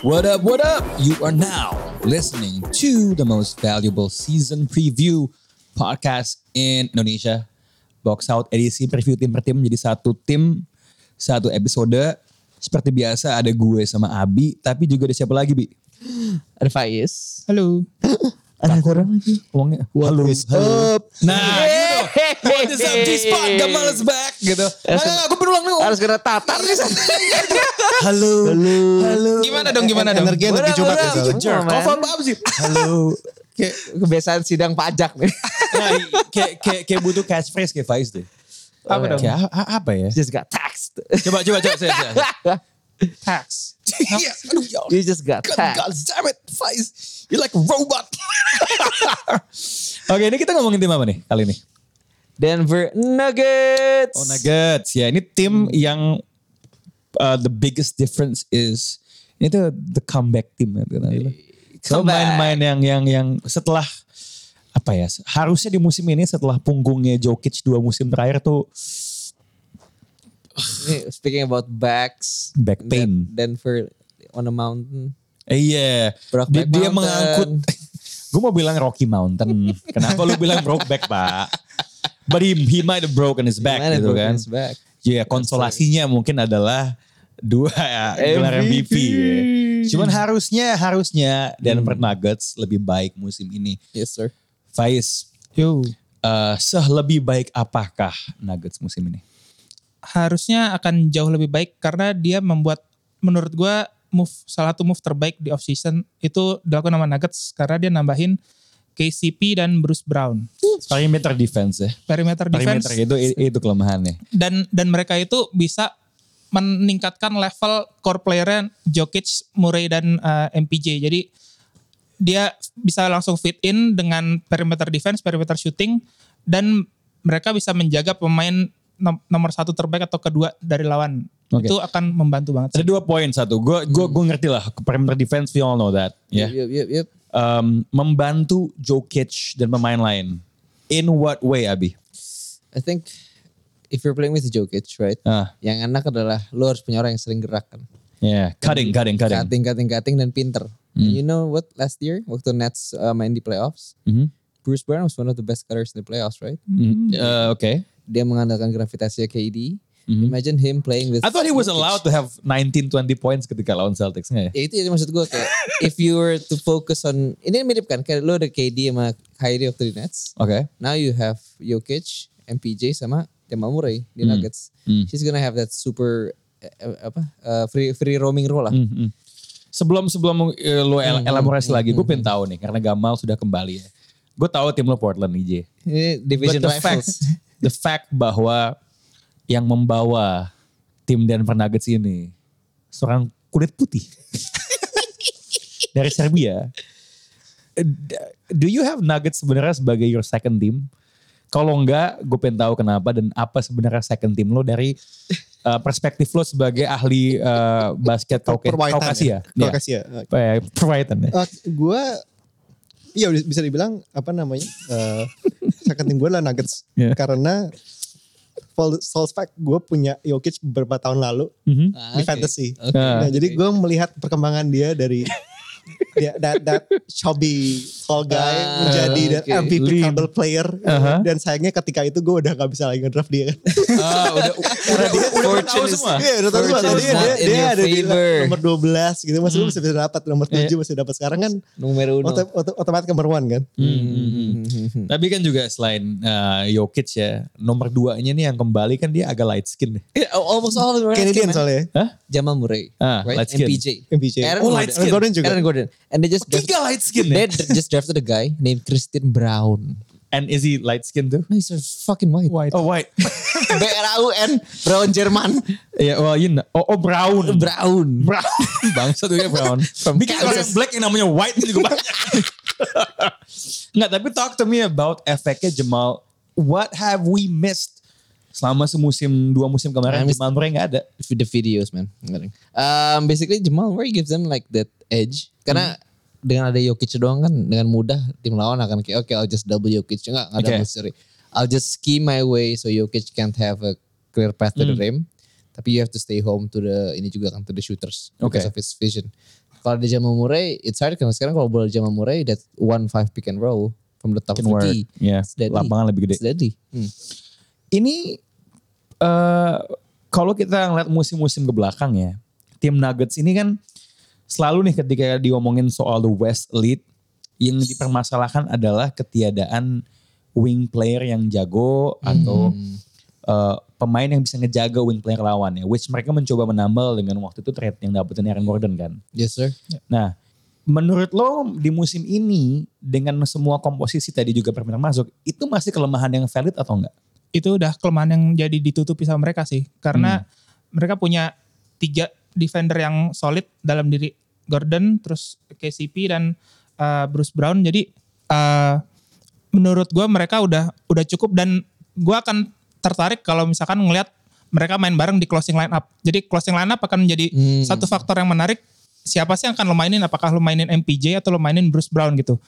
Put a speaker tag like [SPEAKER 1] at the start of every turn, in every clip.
[SPEAKER 1] What up, what up? You are now listening to the most valuable season preview podcast in Indonesia. Box out edisi preview tim per tim menjadi satu tim, satu episode. Seperti biasa ada gue sama Abi, tapi juga ada siapa lagi, Bi?
[SPEAKER 2] Ada Faiz.
[SPEAKER 3] Halo.
[SPEAKER 2] Ada orang lagi.
[SPEAKER 1] Uangnya.
[SPEAKER 3] What
[SPEAKER 1] Halo.
[SPEAKER 3] is
[SPEAKER 1] halo.
[SPEAKER 3] up?
[SPEAKER 1] Nah, gitu. What is up, G-Spot? Gak males back, gitu. Nah, nah, nah, gue berulang nih.
[SPEAKER 2] Harus kena tatar nih.
[SPEAKER 1] Halo.
[SPEAKER 3] Halo.
[SPEAKER 1] Halo.
[SPEAKER 3] Gimana dong, gimana dong? Energi energi coba
[SPEAKER 2] Berat,
[SPEAKER 3] gitu.
[SPEAKER 2] berat. Jerk.
[SPEAKER 1] Confirm apa sih?
[SPEAKER 3] Halo.
[SPEAKER 2] Kayak Kebiasaan sidang pajak nih.
[SPEAKER 1] Nah, kayak kayak kayak butuh catchphrase kayak Faiz deh.
[SPEAKER 3] Apa dong? Kayak a- a- apa
[SPEAKER 2] Oh,
[SPEAKER 3] ya?
[SPEAKER 2] Just got taxed.
[SPEAKER 1] Coba coba coba saya saya.
[SPEAKER 3] Tax.
[SPEAKER 1] Iya, aduh ya.
[SPEAKER 2] You just got
[SPEAKER 1] God,
[SPEAKER 2] taxed.
[SPEAKER 1] God damn it, Faiz. You like a robot. Oke, ini kita ngomongin tim apa nih kali ini?
[SPEAKER 2] Denver Nuggets.
[SPEAKER 1] Oh Nuggets. Ya, ini tim yang uh, the biggest difference is ini tuh the comeback team ya. So
[SPEAKER 2] Comeback.
[SPEAKER 1] main-main yang yang yang setelah apa ya? Harusnya di musim ini setelah punggungnya Jokic dua musim terakhir tuh
[SPEAKER 2] Ini Speaking about backs.
[SPEAKER 1] Back pain.
[SPEAKER 2] Den- Denver on a mountain.
[SPEAKER 1] Eh, Iya, dia,
[SPEAKER 2] Brokeback
[SPEAKER 1] dia
[SPEAKER 2] Mountain.
[SPEAKER 1] mengangkut. gue mau bilang Rocky Mountain. Kenapa lu bilang Brokeback pak? But he, he might have broken his back
[SPEAKER 2] Gimana
[SPEAKER 1] gitu kan.
[SPEAKER 2] Brooklyn is back?
[SPEAKER 1] Ya konsolasinya mungkin adalah dua eh, gelar MVP.
[SPEAKER 2] MVP.
[SPEAKER 1] ya. Cuman harusnya harusnya Denver Nuggets lebih baik musim ini.
[SPEAKER 2] Yes sir.
[SPEAKER 1] Faiz,
[SPEAKER 3] Yo.
[SPEAKER 1] eh seh lebih baik apakah Nuggets musim ini?
[SPEAKER 3] Harusnya akan jauh lebih baik karena dia membuat menurut gua move salah satu move terbaik di off season itu dilakukan sama Nuggets karena dia nambahin KCP dan Bruce Brown.
[SPEAKER 1] Perimeter defense ya.
[SPEAKER 3] Perimeter defense
[SPEAKER 1] Perimeter itu itu kelemahannya.
[SPEAKER 3] dan dan mereka itu bisa meningkatkan level core player Jokic, Murray dan eh, MPJ. Jadi dia bisa langsung fit in dengan perimeter defense, perimeter shooting dan mereka bisa menjaga pemain nom- nomor satu terbaik atau kedua dari lawan.
[SPEAKER 1] Oke.
[SPEAKER 3] Itu akan membantu banget.
[SPEAKER 1] Ada dua poin satu. Gue gue gue ngerti lah perimeter defense we all know that. Ya.
[SPEAKER 2] Yep, yep, yep.
[SPEAKER 1] um, membantu Jokic dan pemain lain. In what way, Abi?
[SPEAKER 2] I think if you're playing with Jokic, right?
[SPEAKER 1] Ah,
[SPEAKER 2] Yang enak adalah lu harus punya orang yang sering gerak kan.
[SPEAKER 1] yeah, cutting, cutting, cutting.
[SPEAKER 2] Cutting, cutting, cutting dan pinter.
[SPEAKER 1] Hmm.
[SPEAKER 2] And You know what? Last year waktu Nets uh, main di playoffs,
[SPEAKER 1] Mhm.
[SPEAKER 2] Bruce Brown was one of the best cutters in the playoffs, right?
[SPEAKER 1] Mm, uh, okay.
[SPEAKER 2] Dia mengandalkan gravitasinya KD.
[SPEAKER 1] Mhm.
[SPEAKER 2] Imagine him playing with.
[SPEAKER 1] I thought he was
[SPEAKER 2] Jokic.
[SPEAKER 1] allowed to have 19-20 points ketika lawan Celtics nggak ya?
[SPEAKER 2] Ya itu ya maksud gue kayak if you were to focus on ini mirip kan kayak lu ada KD sama Kyrie waktu di Nets.
[SPEAKER 1] Oke.
[SPEAKER 2] Now you have Jokic, MPJ sama Jamal Murray di
[SPEAKER 1] Hmm.
[SPEAKER 2] Nuggets.
[SPEAKER 1] Hmm.
[SPEAKER 2] She's gonna have that super eh, eh, apa eh, free free roaming role lah.
[SPEAKER 1] Mm, mm. Sebelum sebelum eh, lu el-
[SPEAKER 2] Mm,
[SPEAKER 1] elaborasi
[SPEAKER 2] mm,
[SPEAKER 1] lagi,
[SPEAKER 2] mm,
[SPEAKER 1] gue pengen tahu nih karena Gamal sudah kembali ya. Gue tahu tim lo Portland IJ.
[SPEAKER 2] Ini
[SPEAKER 1] But
[SPEAKER 2] division
[SPEAKER 1] the fact,
[SPEAKER 2] rivals.
[SPEAKER 1] the fact bahwa yang membawa tim Denver Nuggets ini seorang kulit putih dari Serbia. Eh, d- Do you have Nuggets sebenarnya sebagai your second team? Kalau enggak, gue pengen tahu kenapa dan apa sebenarnya second team lo dari eh, perspektif lo sebagai ahli eh, basket Kauke-
[SPEAKER 4] Perwaitan
[SPEAKER 1] Kaukasia.
[SPEAKER 4] ya.
[SPEAKER 1] Ya.
[SPEAKER 4] Kaukasia. Oke.
[SPEAKER 1] Eh, Perwaitan ya.
[SPEAKER 4] Eh, gue iya bisa dibilang apa namanya? eh second team gue lah Nuggets
[SPEAKER 1] Iya.
[SPEAKER 4] karena Solspec gue punya Jokic beberapa tahun lalu
[SPEAKER 1] Mhm.
[SPEAKER 2] Ah,
[SPEAKER 4] di
[SPEAKER 2] oke.
[SPEAKER 4] fantasy.
[SPEAKER 2] Oke.
[SPEAKER 1] Ah.
[SPEAKER 4] Nah, jadi gue melihat perkembangan dia dari dia that, that chubby tall guy
[SPEAKER 2] Ah,
[SPEAKER 4] menjadi that
[SPEAKER 2] oke.
[SPEAKER 4] MVP
[SPEAKER 1] Lean. Uh-huh.
[SPEAKER 4] caliber player
[SPEAKER 1] Aha.
[SPEAKER 4] dan sayangnya ketika itu gue udah gak bisa lagi ngedraft dia.
[SPEAKER 1] Ah, udah, udah, udah, udah tahu
[SPEAKER 2] Fortune is-
[SPEAKER 1] semua.
[SPEAKER 4] Iya, udah tahu
[SPEAKER 2] Fortune
[SPEAKER 4] semua.
[SPEAKER 2] is
[SPEAKER 4] Dia,
[SPEAKER 2] not
[SPEAKER 4] dia,
[SPEAKER 2] in
[SPEAKER 4] dia
[SPEAKER 2] your
[SPEAKER 4] ada di
[SPEAKER 2] favor. Eh.
[SPEAKER 4] nomor 12 gitu. Masih lu
[SPEAKER 1] Hmm.
[SPEAKER 4] masih bisa dapat nomor 7
[SPEAKER 1] Iya.
[SPEAKER 4] masih dapat. Sekarang kan
[SPEAKER 2] Numero uno. Hmm.
[SPEAKER 4] Otom- otom- otomatis nomor one kan.
[SPEAKER 1] Tapi kan juga selain uh, Jokic ya, nomor duanya nih yang kembali kan dia agak light skin. deh.
[SPEAKER 2] Yeah, Iya, almost all of them are light-skinned,
[SPEAKER 4] Canadian
[SPEAKER 2] man.
[SPEAKER 4] soalnya. ya,
[SPEAKER 1] Hah?
[SPEAKER 2] Jamal Murray,
[SPEAKER 1] Ah,
[SPEAKER 2] right?
[SPEAKER 1] light-skinned.
[SPEAKER 2] MPJ.
[SPEAKER 4] MPJ.
[SPEAKER 2] Aaron
[SPEAKER 1] Oh,
[SPEAKER 2] Gordon.
[SPEAKER 1] light-skinned.
[SPEAKER 4] Aaron Gordon juga.
[SPEAKER 2] Aaron Gordon. And they just drafted,
[SPEAKER 1] Tiga light skin
[SPEAKER 2] they
[SPEAKER 1] ya.
[SPEAKER 2] d- just drafted a guy named Christian Brown.
[SPEAKER 1] And is he light skin tuh?
[SPEAKER 2] No, he's a fucking white.
[SPEAKER 3] White.
[SPEAKER 1] Oh white.
[SPEAKER 2] B R A U N Brown Jerman.
[SPEAKER 1] Ya well you know. Oh, oh brown.
[SPEAKER 2] Brown.
[SPEAKER 1] Brown. Bangsa tuh ya brown. Bikin orang yang black yang namanya white itu juga banyak. Nggak tapi talk to me about efeknya Jamal. What have we missed selama semusim dua musim kemarin
[SPEAKER 2] I missed-
[SPEAKER 1] Jamal Murray nggak ada.
[SPEAKER 2] The videos man. Nggak ada. Um, basically Jamal Murray gives them like that edge. Karena
[SPEAKER 1] Hmm.
[SPEAKER 2] dengan ada Jokic doang kan dengan mudah tim lawan akan kayak oke I'll just double Jokic. Enggak, enggak
[SPEAKER 1] Okay.
[SPEAKER 2] double sorry. I'll just scheme my way so Jokic can't have a clear
[SPEAKER 1] Hmm.
[SPEAKER 2] path to the rim. Tapi you have to stay home to the ini juga kan to the shooters
[SPEAKER 1] Okay.
[SPEAKER 2] because of his vision. Kalau di Jamal Murray, it's hard karena sekarang kalau bola di Jamal Murray that one five pick and roll from the top
[SPEAKER 1] Can
[SPEAKER 2] of
[SPEAKER 1] work.
[SPEAKER 2] the key.
[SPEAKER 1] Ya,
[SPEAKER 2] It's deadly.
[SPEAKER 1] lapangan lebih gede.
[SPEAKER 2] It's deadly. Hmm.
[SPEAKER 1] ini eh kalau kita ngeliat musim-musim ke belakang ya, tim Nuggets ini kan selalu nih ketika diomongin soal the West Elite, yang dipermasalahkan adalah ketiadaan wing player yang jago atau
[SPEAKER 2] Hmm.
[SPEAKER 1] eh, pemain yang bisa ngejaga wing player lawan ya, which mereka mencoba menambal dengan waktu itu trade yang dapetin Aaron Gordon kan.
[SPEAKER 2] Yes sir.
[SPEAKER 1] Nah, menurut lo di musim ini dengan semua komposisi tadi juga permintaan masuk, itu masih kelemahan yang valid atau enggak?
[SPEAKER 3] itu udah kelemahan yang jadi ditutupi sama mereka sih karena mereka punya tiga defender yang solid dalam diri Gordon terus KCP dan uh, Bruce Brown jadi uh, menurut gua mereka udah udah cukup dan gua akan tertarik kalau misalkan ngelihat mereka main bareng di closing line up jadi closing line up akan menjadi
[SPEAKER 2] Hmm.
[SPEAKER 3] satu faktor yang menarik siapa sih yang akan lo mainin apakah lo mainin MPJ atau lo mainin Bruce Brown gitu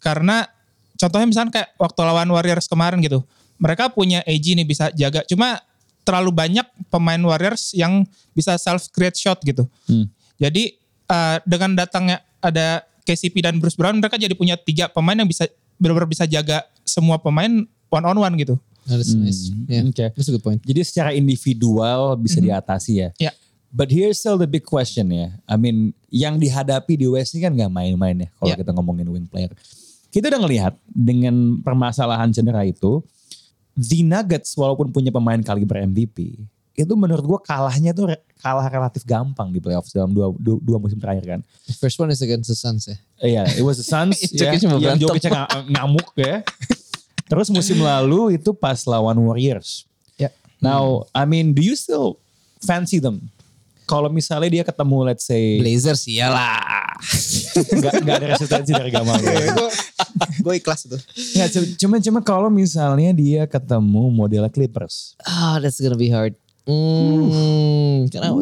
[SPEAKER 3] karena contohnya misalnya kayak waktu lawan Warriors kemarin gitu mereka punya AG nih bisa jaga cuma terlalu banyak pemain Warriors yang bisa self create shot gitu
[SPEAKER 1] Hmm.
[SPEAKER 3] jadi eh, dengan datangnya ada KCP dan Bruce Brown mereka jadi punya tiga pemain yang bisa benar-benar bisa jaga semua pemain one on one gitu
[SPEAKER 2] That is
[SPEAKER 1] Hmm.
[SPEAKER 2] nice. Hmm. Yeah.
[SPEAKER 1] Oke.
[SPEAKER 2] That's a good point.
[SPEAKER 1] Jadi secara individual bisa diatasi ya.
[SPEAKER 3] Ya.
[SPEAKER 1] But here's still the big question ya. I mean, yang dihadapi di West ini kan nggak main-main ya kalau
[SPEAKER 3] Ya.
[SPEAKER 1] kita ngomongin wing player. Kita udah ngelihat dengan permasalahan cedera itu, the Nuggets walaupun punya pemain kaliber MVP, itu menurut gua kalahnya tuh re- kalah relatif gampang di playoffs dalam dua, dua, dua musim terakhir kan.
[SPEAKER 2] The first one is against the Suns ya.
[SPEAKER 1] Iya, it was the Suns ya.
[SPEAKER 2] Jokic cuma
[SPEAKER 1] Yang
[SPEAKER 2] berantem.
[SPEAKER 1] Jokic nga- ngamuk ya. Terus musim lalu itu pas lawan Warriors.
[SPEAKER 3] Ya.
[SPEAKER 1] Now, I mean, do you still fancy them? Kalau misalnya dia ketemu let's say
[SPEAKER 2] Blazers iyalah.
[SPEAKER 1] nggak nggak ada resistensi dari Gamal.
[SPEAKER 2] Gue Iya, ikhlas itu.
[SPEAKER 1] Ya, cu- cuman cuman kalau misalnya dia ketemu modelnya Clippers.
[SPEAKER 2] Ah, that's gonna be hard. Hmm, karena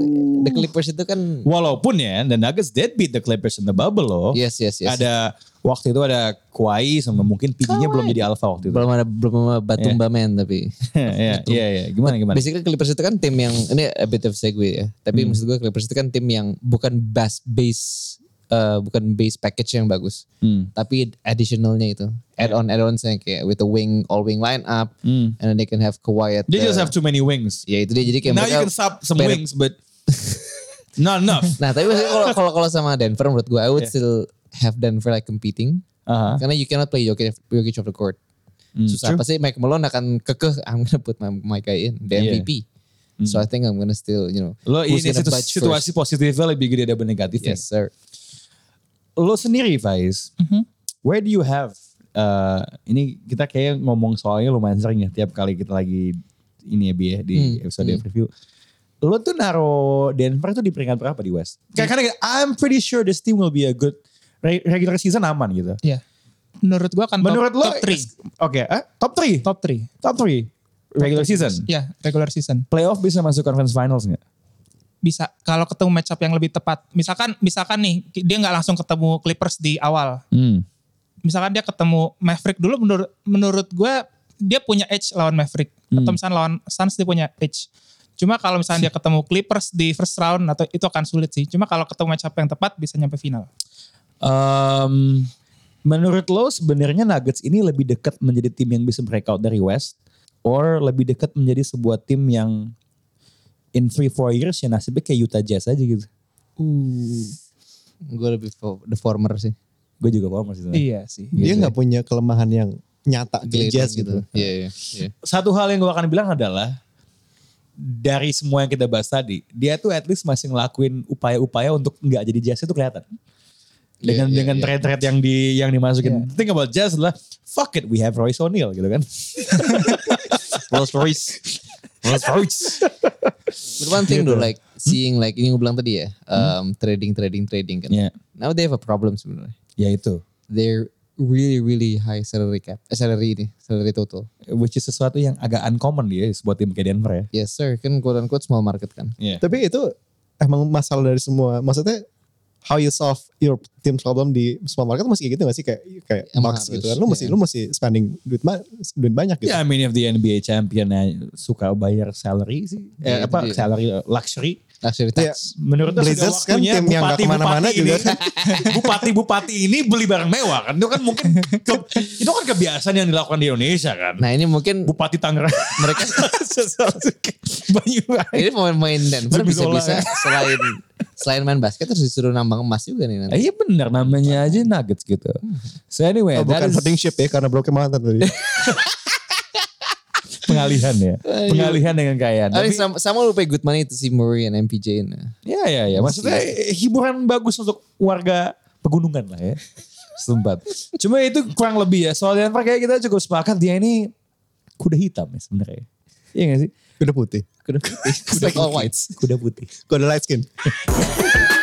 [SPEAKER 2] the Clippers itu kan
[SPEAKER 1] Walaupun ya, the Nuggets did beat the Clippers in the bubble loh.
[SPEAKER 2] yes yes yes.
[SPEAKER 1] Ada waktu itu ada Kawhi sama mungkin PG-nya belum jadi alpha waktu itu.
[SPEAKER 2] belum ada belum ada Batumba man tapi
[SPEAKER 1] Iya, iya, iya. Gimana gimana? Hmm.
[SPEAKER 2] basically Clippers itu kan tim yang ini a bit of segue ya. Tapi maksud gue Clippers itu kan tim yang bukan base base eh, bukan base package yang bagus.
[SPEAKER 1] Hmm.
[SPEAKER 2] Tapi additionalnya itu add on add ons yang kayak with the wing all wing line up
[SPEAKER 1] Hmm.
[SPEAKER 2] and then they can have Kawhi at
[SPEAKER 1] They
[SPEAKER 2] the-
[SPEAKER 1] just have too many wings.
[SPEAKER 2] ya itu dia jadi kayak
[SPEAKER 1] Now
[SPEAKER 2] mereka-
[SPEAKER 1] you can stop some
[SPEAKER 2] better-
[SPEAKER 1] wings, but not enough.
[SPEAKER 2] Nah, tapi maksudnya kalau kalau kalau sama Denver menurut gue I would still have Denver like competing
[SPEAKER 1] Aha.
[SPEAKER 2] karena you cannot play Jokic Jokic off the court.
[SPEAKER 1] Hmm,
[SPEAKER 2] Susah
[SPEAKER 1] true.
[SPEAKER 2] pasti Mike Malone akan kekeh I'm gonna put my, my guy in the
[SPEAKER 1] Yeah. Hmm.
[SPEAKER 2] MVP. So I think I'm gonna still you know
[SPEAKER 1] Lo ini
[SPEAKER 2] who's gonna
[SPEAKER 1] situ,
[SPEAKER 2] budge
[SPEAKER 1] situasi positifnya lebih gede daripada
[SPEAKER 2] first.
[SPEAKER 1] negatifnya.
[SPEAKER 2] Yes sir.
[SPEAKER 1] Lo sendiri, Faiz,
[SPEAKER 3] Mhm.
[SPEAKER 1] where do you have uh, ini kita kayak ngomong soalnya lumayan sering ya tiap kali kita lagi ini ya Bi ya di
[SPEAKER 2] Hmm,
[SPEAKER 1] episode preview. Lo tuh naro Denver tuh di peringkat berapa di West? Kayak karena I'm pretty sure this team will be a good re- regular season aman gitu.
[SPEAKER 3] ya menurut gua akan
[SPEAKER 1] Menurut lo
[SPEAKER 3] top, top three
[SPEAKER 1] Oke, eh, top 3.
[SPEAKER 3] top three
[SPEAKER 1] Top 3 regular season.
[SPEAKER 3] ya regular season
[SPEAKER 1] Playoff bisa masuk conference finals nggak?
[SPEAKER 3] bisa kalau ketemu match up yang lebih tepat misalkan misalkan nih dia nggak langsung ketemu Clippers di awal
[SPEAKER 1] Hmm.
[SPEAKER 3] misalkan dia ketemu Maverick dulu menurut menurut gue dia punya edge lawan Maverick atau misalkan lawan Suns dia punya edge. Cuma kalau misalnya dia ketemu Clippers di first round atau itu akan sulit sih. Cuma kalau ketemu match up yang tepat bisa nyampe final.
[SPEAKER 1] Um, menurut lo sebenarnya Nuggets ini lebih dekat menjadi tim yang bisa breakout dari West, or lebih dekat menjadi sebuah tim yang in 3-4 years ya nasibnya kayak Utah Jazz aja gitu.
[SPEAKER 2] Gue lebih fo- the former sih.
[SPEAKER 1] Gue juga paham sih. sebenarnya.
[SPEAKER 3] Iya sih.
[SPEAKER 4] Dia nggak punya kelemahan yang nyata di
[SPEAKER 2] Glazer
[SPEAKER 4] Jazz gitu.
[SPEAKER 2] Iya iya. iya.
[SPEAKER 1] Satu hal yang gue akan bilang adalah dari semua yang kita bahas tadi, dia tuh at least masih ngelakuin upaya-upaya untuk nggak jadi Jazz itu kelihatan. Dengan
[SPEAKER 2] Iya, iya,
[SPEAKER 1] dengan
[SPEAKER 2] iya.
[SPEAKER 1] trade-trade yang di yang dimasukin. The thing about Jazz adalah fuck it, we have Royce O'Neal gitu kan.
[SPEAKER 2] Rolls Royce.
[SPEAKER 1] Royce
[SPEAKER 2] But
[SPEAKER 1] Iya,
[SPEAKER 2] one thing though like
[SPEAKER 1] Hmm?
[SPEAKER 2] seeing like ini gue bilang tadi ya um, trading trading trading kan.
[SPEAKER 1] Ya,
[SPEAKER 2] Now they have a problem sebenarnya.
[SPEAKER 1] ya itu.
[SPEAKER 2] They're really really high salary cap, eh, salary ini, salary total.
[SPEAKER 1] Which is sesuatu yang agak uncommon dia buat tim kayak Denver ya.
[SPEAKER 2] Yes sir, kan quote unquote small market kan.
[SPEAKER 1] Iya.
[SPEAKER 4] Tapi itu emang masalah dari semua. Maksudnya how you solve your team problem di small market masih kayak gitu gak sih kayak kayak
[SPEAKER 2] Emang
[SPEAKER 4] Bucks
[SPEAKER 2] harus,
[SPEAKER 4] gitu kan. Lu masih
[SPEAKER 2] iya.
[SPEAKER 4] lu masih spending duit ma- duit banyak gitu.
[SPEAKER 1] Ya, I mean if the NBA champion suka bayar salary sih, eh,
[SPEAKER 2] Ya, itu
[SPEAKER 1] apa
[SPEAKER 2] dia.
[SPEAKER 1] salary uh, luxury,
[SPEAKER 2] luxury
[SPEAKER 4] Iya.
[SPEAKER 2] tax.
[SPEAKER 1] Menurut lu sudah
[SPEAKER 4] Blazers kan
[SPEAKER 1] waktunya
[SPEAKER 4] tim yang gak
[SPEAKER 1] bupati-bupati
[SPEAKER 4] kemana-mana
[SPEAKER 1] ini-
[SPEAKER 4] juga kan.
[SPEAKER 1] Bupati-bupati ini beli barang mewah kan. Itu kan mungkin ke- itu kan kebiasaan yang dilakukan di Indonesia kan.
[SPEAKER 2] Nah ini mungkin
[SPEAKER 1] Bupati Tangerang.
[SPEAKER 2] mereka
[SPEAKER 1] Banyuwangi.
[SPEAKER 2] ini pemain-pemain Denver
[SPEAKER 1] Zubizolai.
[SPEAKER 2] bisa-bisa selain selain main basket terus disuruh nambang emas juga nih nanti.
[SPEAKER 1] Iya benar namanya aja Nuggets gitu. So anyway,
[SPEAKER 2] iya,
[SPEAKER 4] Oh,
[SPEAKER 1] that
[SPEAKER 4] bukan
[SPEAKER 1] is-
[SPEAKER 4] voting ship ya karena broken mantan tadi.
[SPEAKER 1] pengalihan ya. Pengalihan dengan kaya.
[SPEAKER 2] Iya. Tapi
[SPEAKER 1] Tapi
[SPEAKER 2] sama, sama lupa Goodman itu si Murray and MPJ nah.
[SPEAKER 1] ya ya ya. Maksudnya eh, hiburan bagus untuk warga pegunungan lah ya. Setempat. Cuma itu kurang lebih ya. Soal Denver kayak kita cukup sepakat dia ini kuda hitam ya sebenarnya. Iya gak sih?
[SPEAKER 4] Kuda putih.
[SPEAKER 1] Kuda putih.
[SPEAKER 2] It's like all whites.
[SPEAKER 1] Kuda putih.
[SPEAKER 4] Kuda light skin.